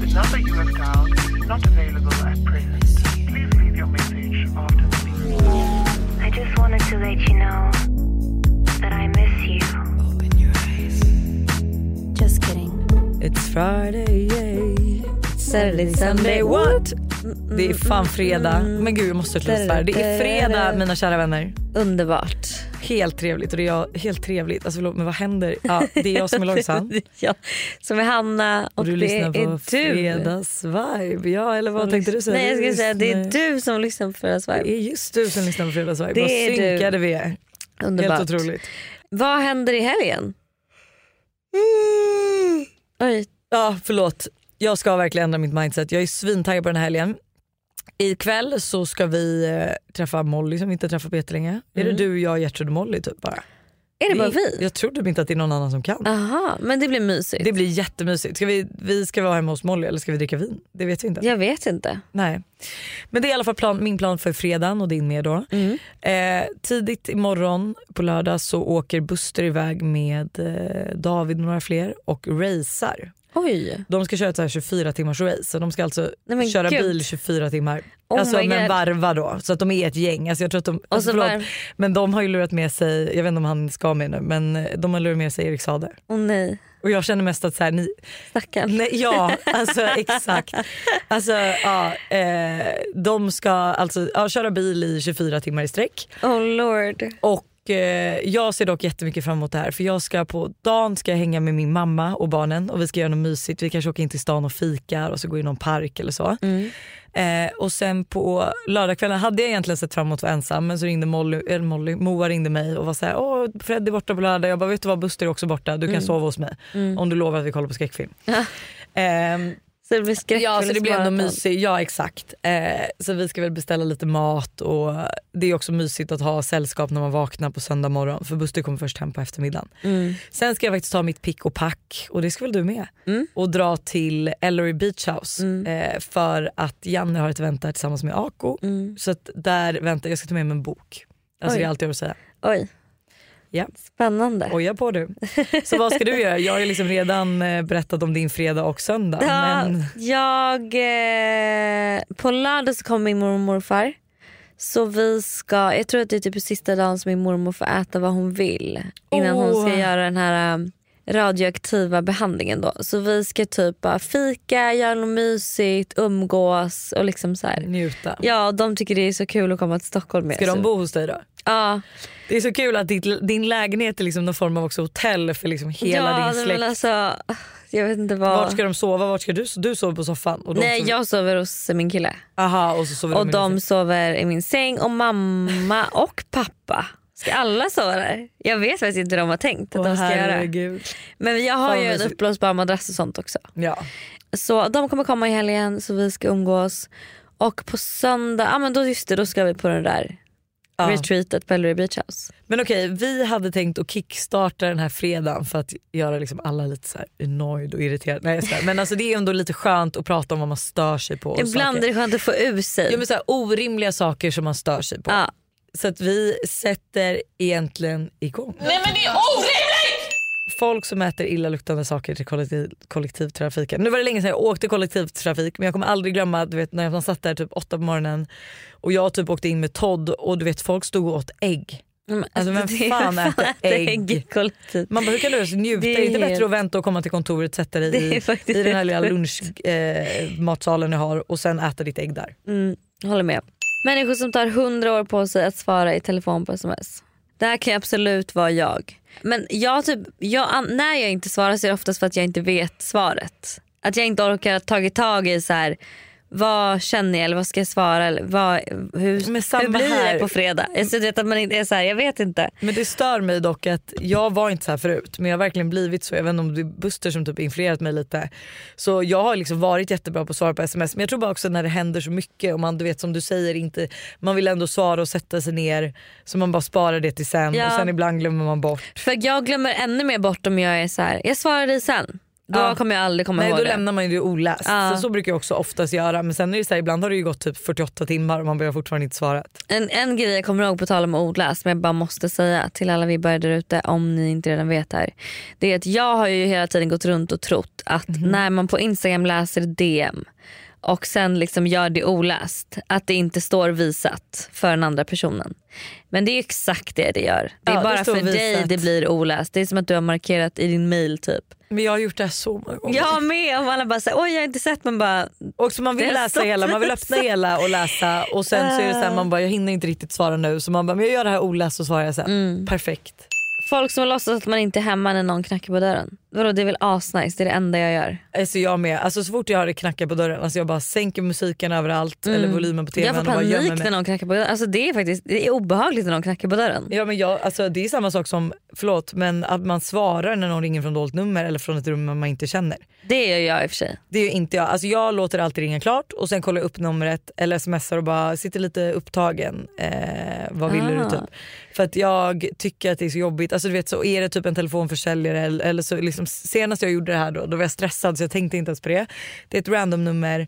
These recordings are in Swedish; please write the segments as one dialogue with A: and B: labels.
A: number dialed is not available at present. Please leave your message after the beep.
B: I just wanted to let you know that I miss you. Just kidding.
C: It's Friday, yay. Saturday, Sunday, what? Det är fan fredag. Men gud jag måste sluta
D: Mm,
C: svära. Det är fredag mina kära vänner.
D: Underbart.
C: Helt trevligt och det är jag, helt trevligt. Alltså förlåt men vad händer? Ja, det är jag som är Lojsan.
D: ja, som är Hanna och,
C: Och du
D: det
C: lyssnar
D: är
C: på
D: du.
C: Fredagsvibe. Ja eller vad tänkte du säga?
D: Nej jag
C: Du
D: skulle säga det är
C: lyssnar-
D: du som lyssnar på
C: Det
D: Fredagsvibe.
C: är just du som lyssnar på Fredagsvibe.
D: Det
C: Vad
D: är du.
C: synkade vi är.
D: Underbart.
C: Helt otroligt. Mm.
D: Vad händer i helgen? Oj,
C: Ja, förlåt. Jag ska verkligen ändra mitt mindset. Jag är svintaggad på den här helgen. Ikväll så ska vi eh, träffa Molly som vi inte träffat på jättelänge. Är det du, jag, Gertrud och Molly typ bara?
D: Mm. är det bara vi?
C: Jag tror typ inte att det är någon annan som kan.
D: Aha, men det blir mysigt.
C: Det blir jättemysigt. Ska vi, vi ska vara hemma hos Molly eller ska vi dricka vin? Det vet vi inte.
D: Jag vet inte.
C: Nej. Men det är i alla fall plan, min plan för fredagen och din med då. Eh, tidigt imorgon på lördag så åker Buster iväg med eh, David och några fler och racear.
D: Oj.
C: De ska köra ett så här 24 timmars race så de ska alltså
D: Nej, men
C: köra
D: gud.
C: bil 24 timmar.
D: Oh
C: alltså
D: my
C: men
D: God.
C: varva då så att de är ett gäng. Alltså, jag tror att de, alltså,
D: så
C: förlåt,
D: varv-
C: men de har ju lurat med sig, jag vet inte om han ska med nu men eh, de har lurat med sig Erik Saade.
D: Åh nej,
C: Och jag känner mest att så här, ni,
D: stackarn.
C: Nej, ja, alltså exakt. Alltså, ja, eh, de ska alltså, ja, köra bil i 24 timmar i sträck.
D: Oh lord.
C: Och eh, jag ser dock jättemycket fram emot det här för jag ska på dagen ska jag hänga med min mamma och barnen och vi ska göra något mysigt. Vi kanske åker in till stan och fikar och så går i någon park eller så. Eh, och sen på lördagskvällen hade jag egentligen sett fram emot att vara ensam men så ringde Molly, eller Molly, Moa ringde mig och var såhär åh Fred är borta på lördag. Jag bara vet du vad Buster är också borta du kan sova hos mig om du lovar att vi kollar på skräckfilm. Ehm,
D: Så det blir skräck
C: Ja, så
D: eller
C: det blir ändå
D: maraton.
C: mysigt. Ja, exakt. Eh, så vi ska väl beställa lite mat och det är också mysigt att ha sällskap när man vaknar på söndag morgon för Buster kommer först hem på eftermiddagen.
D: Mm.
C: Sen ska jag faktiskt ta mitt pick och pack och det ska väl du med
D: Mm.
C: och dra till Ellery Beach House eh, för att Janne har ett event där tillsammans med Ako. Så att där väntar jag ska ta med mig en bok. Alltså
D: Mm. Oj.
C: det är allt jag har att säga.
D: Oj.
C: Ja.
D: Spännande.
C: Oja på du. Så vad ska du göra? Jag har ju liksom redan eh, berättat om din fredag och söndag.
D: Ja,
C: Men...
D: Jag, eh, på lördag så kommer min mormor och morfar. Så vi ska, jag tror att det är typ sista dagen som min mormor får äta vad hon vill. Innan hon ska
C: Åh.
D: göra den här um, radioaktiva behandlingen då. Så vi ska typ bara fika, göra något mysigt, umgås och liksom så här.
C: Njuta.
D: Ja, de tycker det är så kul att komma till Stockholm med.
C: Ska de
D: så-
C: bo hos dig då?
D: Ja.
C: Det är så kul att ditt, din lägenhet är liksom någon form av också hotell för liksom hela
D: ja,
C: din
D: nej,
C: släkt.
D: Men alltså, jag vet inte vad.
C: Vart ska de sova? Vart ska du sova? Du sover på soffan? Och de
D: Nej,
C: sover...
D: jag sover hos min kille.
C: Aha, och så sover
D: Och
C: de, i din
D: de
C: säng.
D: sover i min säng och mamma och pappa. Ska alla sova där? Jag vet faktiskt inte hur de har tänkt att
C: Åh,
D: de ska göra.
C: herregud.
D: Men jag har
C: Fan,
D: ju
C: vad
D: en
C: mysigt.
D: uppblåsbar madrass och sånt också.
C: Ja.
D: Så de kommer komma i helgen så vi ska umgås. Och på söndag, ja men då just det, då ska vi på den där
C: Ja.
D: retreatet på Ellery Beach House.
C: Men okej, vi hade tänkt att kickstarta den här fredagen för att göra liksom alla lite så här annoyed och irriterade. Nej, jag skojar. men alltså det är ändå lite skönt att prata om vad man stör sig på. och
D: Ibland är
C: saker.
D: det skönt att få ur sig.
C: Ja, men så här, orimliga saker som man stör sig på.
D: Ja.
C: Så att vi sätter egentligen igång.
E: Nej men det är orimligt!
C: folk som äter illaluktande saker till kollektiv, kollektivtrafiken. Nu var det länge sedan jag åkte kollektivtrafik men jag kommer aldrig glömma du vet, när man satt där typ åtta på morgonen och jag typ åkte in med Todd och du vet folk stod och åt ägg.
D: Men
C: Alltså, vem
D: det är-
C: fan äter ägg?
D: i kollektivet?
C: Man bara hur kan du ens njuta?
D: Det
C: Det
D: är
C: är det inte
D: helt-
C: bättre att vänta och komma till kontoret sätta dig
D: Det är
C: i,
D: faktiskt
C: i den här
D: helt
C: lilla
D: sjukt.
C: lunchmatsalen eh, matsalen jag har och sen äta ditt ägg där?
D: Mm, Håller med. Människor som tar 100 år på sig att svara i telefon på sms. Det här kan ju absolut vara jag. Men jag typ, jag, an- när jag inte svarar så är det oftast för att jag inte vet svaret. Att jag inte orkar tagit tag i så här. vad känner jag eller vad ska jag svara? Eller vad,
C: Men
D: hur,
C: samma
D: hur blir
C: här.
D: det på fredag? Alltså, du vet att man inte är så här, jag vet inte.
C: Men det stör mig dock att jag var inte så här förut men jag har verkligen blivit så. Jag vet inte om det är Buster som typ influerat mig lite. Så jag har liksom varit jättebra på att svara på sms men jag tror bara också när det händer så mycket och man du vet som du säger inte, man vill ändå svara och sätta sig ner så man bara sparar det till sen
D: Ja.
C: och sen ibland glömmer man bort.
D: För jag glömmer ännu mer bort om jag är så här. jag svarar dig sen. Då
C: Ja.
D: kommer jag aldrig komma
C: Nej
D: ihåg
C: då
D: det.
C: lämnar man ju det oläst.
D: Ja.
C: Så, så brukar jag också oftast göra men sen är det så här, ibland har det ju gått typ 48 timmar och man har fortfarande inte svarat.
D: En, en grej jag kommer ihåg på tal om odläst men jag bara måste säga till alla vibbare där ute om ni inte redan vet här. Det är att jag har ju hela tiden gått runt och trott att
C: Mhm.
D: när man på Instagram läser DM och sen liksom gör det oläst att det inte står visat för den andra personen. Men det är exakt det det gör. Det
C: Ja,
D: är
C: det
D: bara
C: står
D: för dig
C: visat.
D: det blir oläst. Det är som att du har markerat i din mail typ.
C: Men jag har gjort det här så många gånger.
D: Jag har med om alla bara säger oj jag har inte sett men bara
C: Och så man vill
D: Det är
C: läsa
D: så
C: hela, man vill öppna hela och läsa och sen så är det
D: Ah.
C: så här, man bara jag hinner inte riktigt svara nu så man bara men jag gör det här oläst och svarar jag sen.
D: Mm.
C: Perfekt.
D: folk som låtsas att man inte är hemma när någon knackar på dörren. Vadå det är väl asnice det är det enda jag gör.
C: Alltså jag med, alltså så fort jag hör det knacka på dörren alltså jag bara sänker musiken överallt eller volymen på tvn
D: Mm. Jag får
C: och bara
D: panik
C: gömmer mig.
D: när någon knackar på dörren. Alltså det är faktiskt det är obehagligt när någon knackar på dörren.
C: Ja, men jag, alltså, det är samma sak som, förlåt men att man svarar när någon ringer från dolt nummer eller från ett rum man inte känner.
D: Det gör jag i och för sig.
C: Det är ju inte jag. Alltså jag låter alltid ringa klart och sen kollar jag upp numret eller smsar och bara sitter lite upptagen. Eh, vad vill
D: Ah.
C: du typ? För att jag tycker att det är så jobbigt. Alltså du vet så är det typ en telefonförsäljare eller, eller så liksom senast jag gjorde det här då, då var jag stressad så jag tänkte inte ens på det. Det är ett random nummer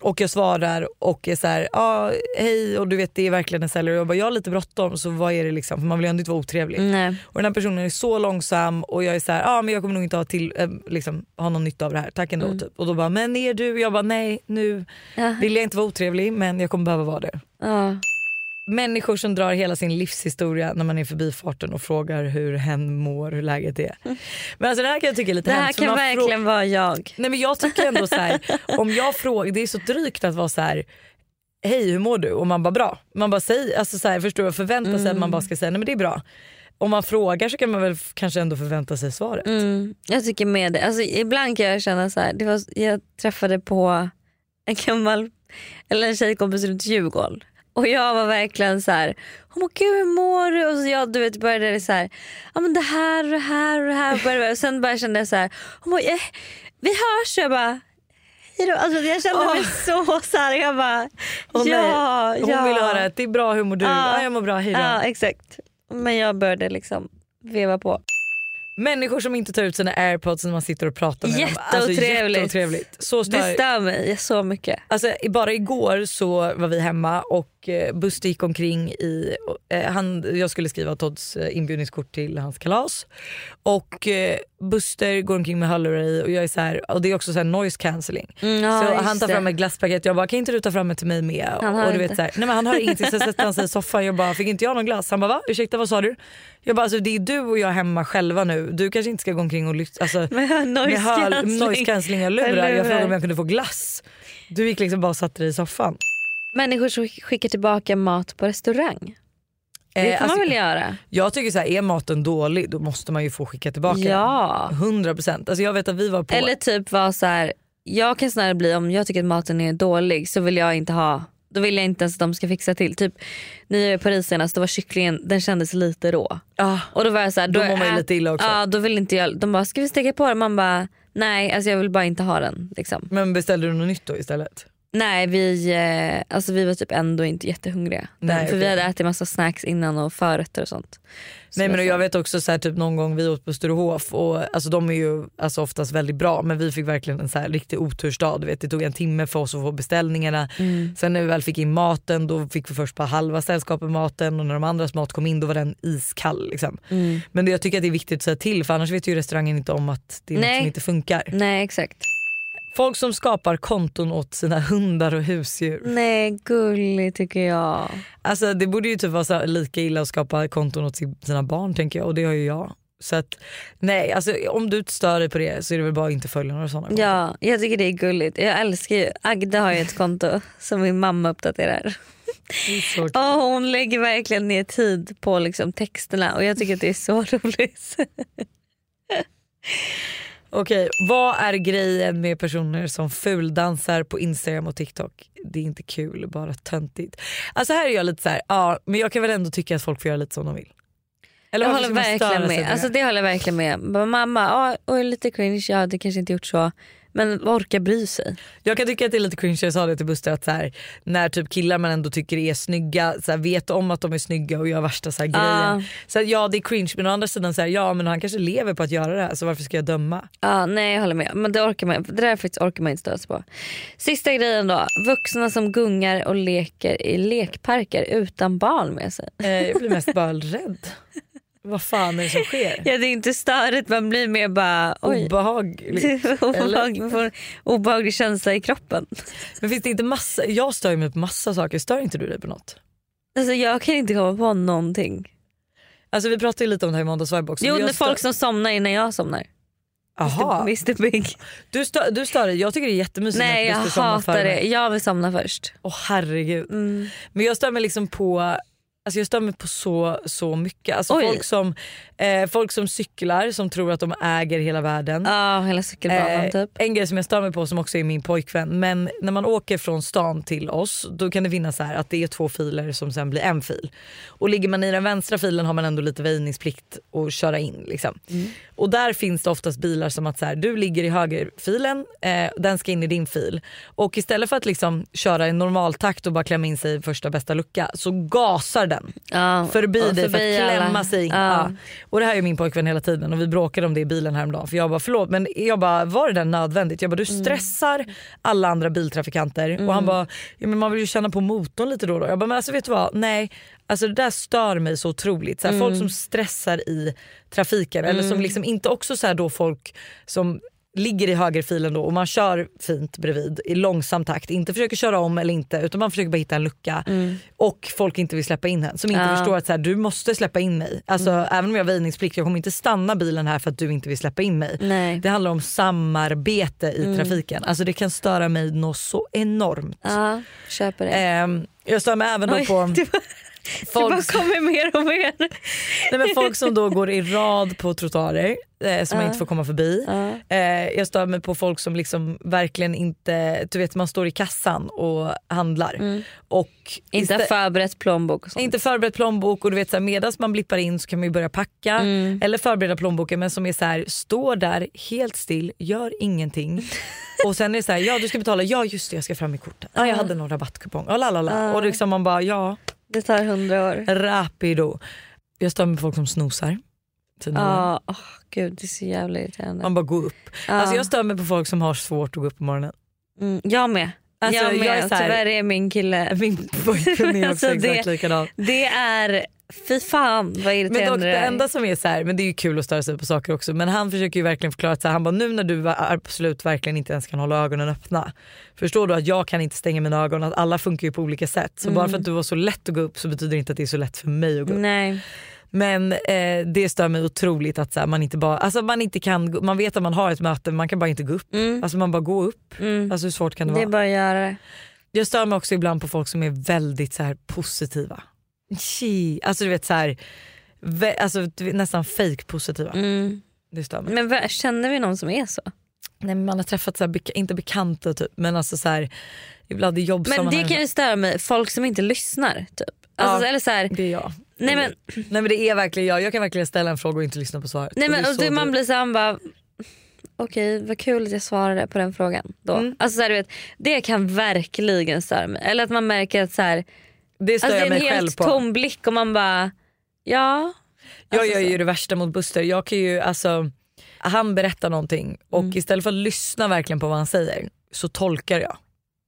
C: och jag svarar och är så här, ja hej och du vet det är verkligen en säljare och jag bara jag har lite bråttom så vad är det liksom för man vill ju ändå inte vara otrevlig.
D: Nej.
C: Och den här personen är så långsam och jag är så här, ah, men jag kommer nog inte ha, till, eh, liksom, ha någon nytta av det här. Tack ändå.
D: Mm.
C: Typ. Och då bara, men är du? Jag bara, nej nu
D: Ja.
C: vill jag inte vara otrevlig men jag kommer behöva vara det.
D: Ja.
C: Människor som drar hela sin livshistoria när man är i förbifarten och frågar hur hen mår, hur läget är. Men alltså det här kan jag tycka är lite
D: Mm. Det här
C: hemskt, för
D: kan
C: man frå-
D: verkligen vara jag.
C: Nej men jag tycker ändå så här, om jag frågar, det är så drygt att vara så här hej hur mår du? Och man bara bra. Man bara säger, alltså så här, förstår du, förväntar sig att man bara ska säga nej men det är bra. Om man frågar så kan man väl f- kanske ändå förvänta sig svaret.
D: Mm, jag tycker med det. Alltså, ibland kan jag känna så här, det var, jag träffade på en gammal, eller en tjejkompis runt Djurgården. Och jag var verkligen så här, hon bara gud hur mår du? Och så jag du vet, började det så här, ja men det här och det här och det här. Började, och sen bara kände jag så här, hon bara, eh, vi hörs. Jag bara, hej då. Alltså, jag kände mig så så här, jag bara,
C: Åh,
D: ja,
C: nej. Hon
D: ja.
C: vill höra att det är bra, hur mår du?
D: Ja.
C: Ja. jag mår bra, hej då.
D: Ja exakt. Men jag började liksom veva på.
C: Människor som inte tar ut sina airpods när man sitter och pratar med dem. Alltså,
D: Jätteotrevligt.
C: jätteotrevligt. Så
D: Det
C: stör
D: stör mig så mycket.
C: Alltså, i- bara igår så var vi hemma och eh, Buster gick omkring i... Eh, han, jag skulle skriva Todds eh, inbjudningskort till hans kalas. Och eh, Buster går omkring med hörlurar i och, jag är så här, och det är också så här noise cancelling.
D: Mm, ja,
C: så
D: just
C: han tar
D: det.
C: fram ett glasspaket jag bara kan inte du ta fram ett till mig med?
D: Han hör
C: och du vet,
D: inte.
C: Så här, nej, men han hör ingenting så sätter han sig i soffan jag bara fick inte jag någon glass? Han bara va? Ursäkta vad sa du? Jag bara alltså, det är du och jag hemma själva nu. Du kanske inte ska gå omkring och lyssna. Alltså,
D: Med hör- noise
C: med hör-
D: cancelling.
C: noise cancelling och lurar.
D: Lurar.
C: Jag frågade om jag kunde få glass. Du gick liksom bara och satte dig i soffan.
D: Människor som skickar tillbaka mat på restaurang. Det
C: Eh,
D: kan man
C: alltså,
D: väl göra?
C: Jag tycker så här, är maten dålig då måste man ju få skicka tillbaka
D: Ja.
C: den. 100%. Alltså jag vet att vi var på...
D: Eller typ vara så här. jag kan snarare bli om jag tycker att maten är dålig så vill jag inte ha då vill jag inte ens att de ska fixa till. Typ när jag var i Paris senast då var kycklingen den kändes lite rå.
C: ah,
D: Och då var jag så här,
C: Då
D: är
C: mår man ju
D: ät-
C: lite illa också.
D: Ja, då vill inte jag. De bara ska vi steka på det? Man bara nej alltså jag vill bara inte ha den liksom.
C: men beställde du något nytt då istället?
D: Nej vi, eh, alltså vi var typ ändå inte jättehungriga.
C: Nej,
D: för vi
C: okej.
D: hade ätit massa snacks innan och förrätter och sånt. Så
C: Nej men
D: jag
C: jag vet också så här, typ någon gång vi åt på Sturehof och alltså de är ju alltså oftast väldigt bra men vi fick verkligen en så här riktig otursdag. Du vet, det tog en timme för oss att få beställningarna.
D: Mm.
C: Sen när vi väl fick in maten då fick vi först bara halva sällskapet maten och när de andras mat kom in då var den iskall. Liksom.
D: Mm.
C: Men det, jag tycker att det är viktigt att säga till för annars vet ju restaurangen inte om att det är något
D: Nej. Mm.
C: som inte funkar.
D: Nej exakt.
C: Folk som skapar konton åt sina hundar och husdjur.
D: Nej gullig tycker jag.
C: Alltså det borde ju typ vara så här, lika illa att skapa konton åt sin- sina barn tänker jag och det har ju jag. Så att nej, alltså om du stör dig på det så är det väl bara att inte följa några sådana. konton.
D: Ja jag tycker det är gulligt. Jag älskar ju, Agda har ju ett konto som min mamma uppdaterar.
C: Det är så kul.
D: Och hon lägger verkligen ner tid på liksom texterna och jag tycker att det är så roligt.
C: Okej, vad är grejen med personer som fuldansar på Instagram och TikTok? Det är inte kul, bara töntigt. Alltså här är jag lite så här, ja men jag kan väl ändå tycka att folk får göra lite som de vill. Eller
D: Jag
C: varför
D: håller
C: ska man störa
D: verkligen
C: sig på
D: med.
C: det?
D: Alltså, det håller jag verkligen med. Bara, Mamma, ja, och lite cringe, jag hade kanske inte gjort så. Men orka bry sig.
C: Jag kan tycka att det är lite cringe, jag sa det till Buster att så här, när typ killar man ändå tycker är snygga så här, vet om att de är snygga och gör värsta så här, grejen.
D: Ah.
C: Så att, ja det är cringe men å andra sidan så här, ja men han kanske lever på att göra det här så varför ska jag döma?
D: Ja, nej jag håller med. Men det, orkar man, det där faktiskt orkar man inte störa sig på. Sista grejen då. Vuxna som gungar och leker i lekparker utan barn med sig.
C: Eh, jag blir mest bara rädd. Vad fan är det som sker?
D: Ja det är inte störigt man blir mer bara oj.
C: Obehagligt.
D: Obehaglig, man får en obehaglig känsla i kroppen.
C: Men finns det inte massa, jag stör ju mig på massa saker, stör inte du dig på något?
D: Alltså jag kan inte komma på någonting.
C: Alltså vi pratade ju lite om det här i måndags vibe också.
D: Jo
C: men jag
D: när folk
C: stör-
D: som somnar innan jag somnar.
C: Aha,
D: Mr Big.
C: du, stör, du stör dig, jag tycker det är jättemysigt
D: Nej jag
C: att Buster somnar före
D: hatar
C: mig.
D: det. Jag vill somna först.
C: Åh herregud.
D: Mm.
C: Men jag stör mig liksom på Alltså jag stör mig på så, så mycket. Alltså
D: Oj.
C: folk, som, eh, folk som cyklar som tror att de äger hela världen.
D: Ja hela cykelbanan
C: Eh,
D: typ.
C: En grej som jag stör mig på som också är min pojkvän. Men när man åker från stan till oss då kan det finnas så här att det är två filer som sen blir en fil. Och ligger man i den vänstra filen har man ändå lite väjningsplikt att köra in. Liksom. Och där finns det oftast bilar som att så här, du ligger i högerfilen, eh, den ska in i din fil. Och istället för att liksom köra i normaltakt och bara klämma in sig i första bästa lucka så gasar den
D: Ja,
C: förbi
D: och
C: dig för att
D: alla.
C: klämma sig in.
D: Ja.
C: Ja. Och det här är min pojkvän hela tiden och vi bråkade om det i bilen häromdagen för jag bara förlåt men jag bara var det där nödvändigt? Jag bara du
D: Mm.
C: stressar alla andra biltrafikanter och han bara ja, men man vill ju känna på motorn lite då och då. Jag bara men alltså vet du vad nej alltså det där stör mig så otroligt. Så här,
D: Mm.
C: Folk som stressar i trafiken eller som liksom inte också så här då folk som ligger i högerfilen då och man kör fint bredvid i långsam takt. Inte försöker köra om eller inte utan man försöker bara hitta en lucka. Och folk inte vill släppa in henne som inte
D: Mm. Ja. Mm.
C: förstår att så här, du måste släppa in mig. Alltså, Även om jag har väjningsplikt, jag kommer inte stanna bilen här för att du inte vill släppa in mig.
D: Nej. Mm.
C: Det handlar om samarbete i trafiken. Alltså det kan störa mig något så enormt.
D: Ja, köper det.
C: Ehm, jag stör mig även då
D: Oj,
C: på
D: det var- Det bara
C: folk
D: kommer mer och mer.
C: Nej, men folk som då går i rad på trottoarer eh, som jag inte får komma förbi. Eh, jag stör mig på folk som liksom verkligen inte, du vet man står i kassan och handlar. Och
D: Mm. Inte har
C: istä-
D: förberett plånbok och sånt.
C: inte förberett plånbok och du vet så här, medans man blippar in så kan man ju börja packa
D: Mm.
C: eller förbereda plånboken men som är så här står där helt still, gör ingenting och sen är det så här ja du ska betala, ja just det jag ska fram i korten, ja jag hade någon rabattkupong, och lalala. och liksom man bara ja
D: Det tar hundra
C: Mm.
D: år.
C: rapido. Jag stör mig på folk som snosar. Typ Tydligen.
D: Ja, åh gud det är så jävla irriterande.
C: Man bara går upp. Alltså jag stör mig på folk som har svårt att gå upp på morgonen.
D: Mm, jag med.
C: Alltså,
D: jag med.
C: jag är så här-
D: Tyvärr är min kille...
C: Min pojkvän är också
D: Alltså, det-
C: exakt likadan.
D: Det är... Fy fan vad
C: Men dock,
D: irriterande
C: det
D: är.
C: enda som är så här, men det är ju kul att störa sig på saker också men han försöker ju verkligen förklara att så här, han bara nu när du absolut verkligen inte ens kan hålla ögonen öppna förstår du att jag kan inte stänga mina ögon att alla funkar ju på olika sätt så
D: Mm.
C: bara för att du var så lätt att gå upp så betyder det inte att det är så lätt för mig att gå upp.
D: Nej.
C: Men eh, det stör mig otroligt att så här, man inte bara, alltså man inte kan, gå- man vet att man har ett möte men man kan bara inte gå upp. Alltså man bara går upp. Alltså hur svårt kan det,
D: Mm. Det är
C: vara?
D: bara att göra det.
C: Jag stör mig också ibland på folk som är väldigt så här, positiva. Tji. Alltså du vet så här, vä- alltså, du vet, nästan fake positiva.
D: Mm.
C: Det stör mig.
D: Men vad- känner vi någon som är så?
C: Nej, men man har träffat, så här, beka- inte bekanta typ men alltså så här, ibland i jobbsammanhang.
D: Men det kan ju störa mig. Folk som inte lyssnar typ. Alltså,
C: Ja.
D: Eller så här,
C: Det är jag.
D: nej men
C: Nej men det är verkligen jag. Jag kan verkligen ställa en fråga och inte lyssna på svaret.
D: Nej
C: Och
D: men
C: det är
D: och
C: så
D: du, man
C: dumt.
D: blir såhär bara okej vad kul att jag svarade på den frågan då.
C: Mm.
D: Alltså så här, du vet, det kan verkligen störa mig. Eller att man märker att så här,
C: det stör
D: alltså,
C: jag
D: det är en
C: mig själv
D: helt
C: på.
D: tom blick och man bara ja.
C: Jag
D: Alltså,
C: gör
D: så.
C: ju det värsta mot Buster. Jag kan ju, alltså, han berättar någonting och
D: Mm.
C: istället för att lyssna verkligen på vad han säger så tolkar jag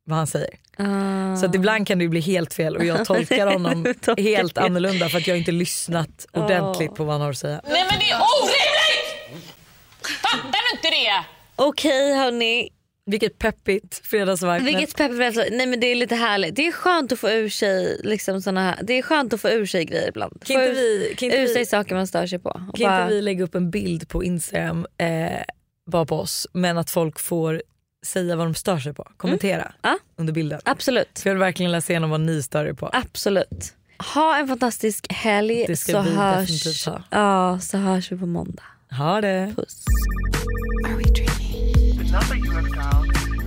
C: vad han säger.
D: Ah.
C: Så att ibland kan det ju bli helt fel och jag tolkar honom
D: Tolkar
C: helt
D: fel.
C: annorlunda för att jag inte lyssnat ordentligt på vad han har att säga.
E: Nej men det är orimligt! Fattar du inte det?
D: Okej hörni,
C: Vilket peppigt fredagsvibe.
D: vilket peppar Nej men det är lite härligt. Det är skönt att få ur sig liksom såna här, det är skönt att få ur sig grejer ibland.
C: Kan inte
D: få ur,
C: vi- kan inte
D: ur
C: vi-
D: sig saker man stör sig på. Och
C: Kan
D: bara,
C: inte vi lägga upp en bild på Instagram eh, bara på oss men att folk får säga vad de stör sig på. Kommentera
D: Mm. Ja.
C: under bilden.
D: Absolut.
C: För jag vill verkligen läsa igenom vad ni stör er på.
D: Absolut. Ha en fantastisk helg
C: Det ska
D: så,
C: vi
D: hörs,
C: definitivt ha.
D: ja, så hörs vi på måndag.
C: Ha det!
D: Puss.
A: The number you have dialed is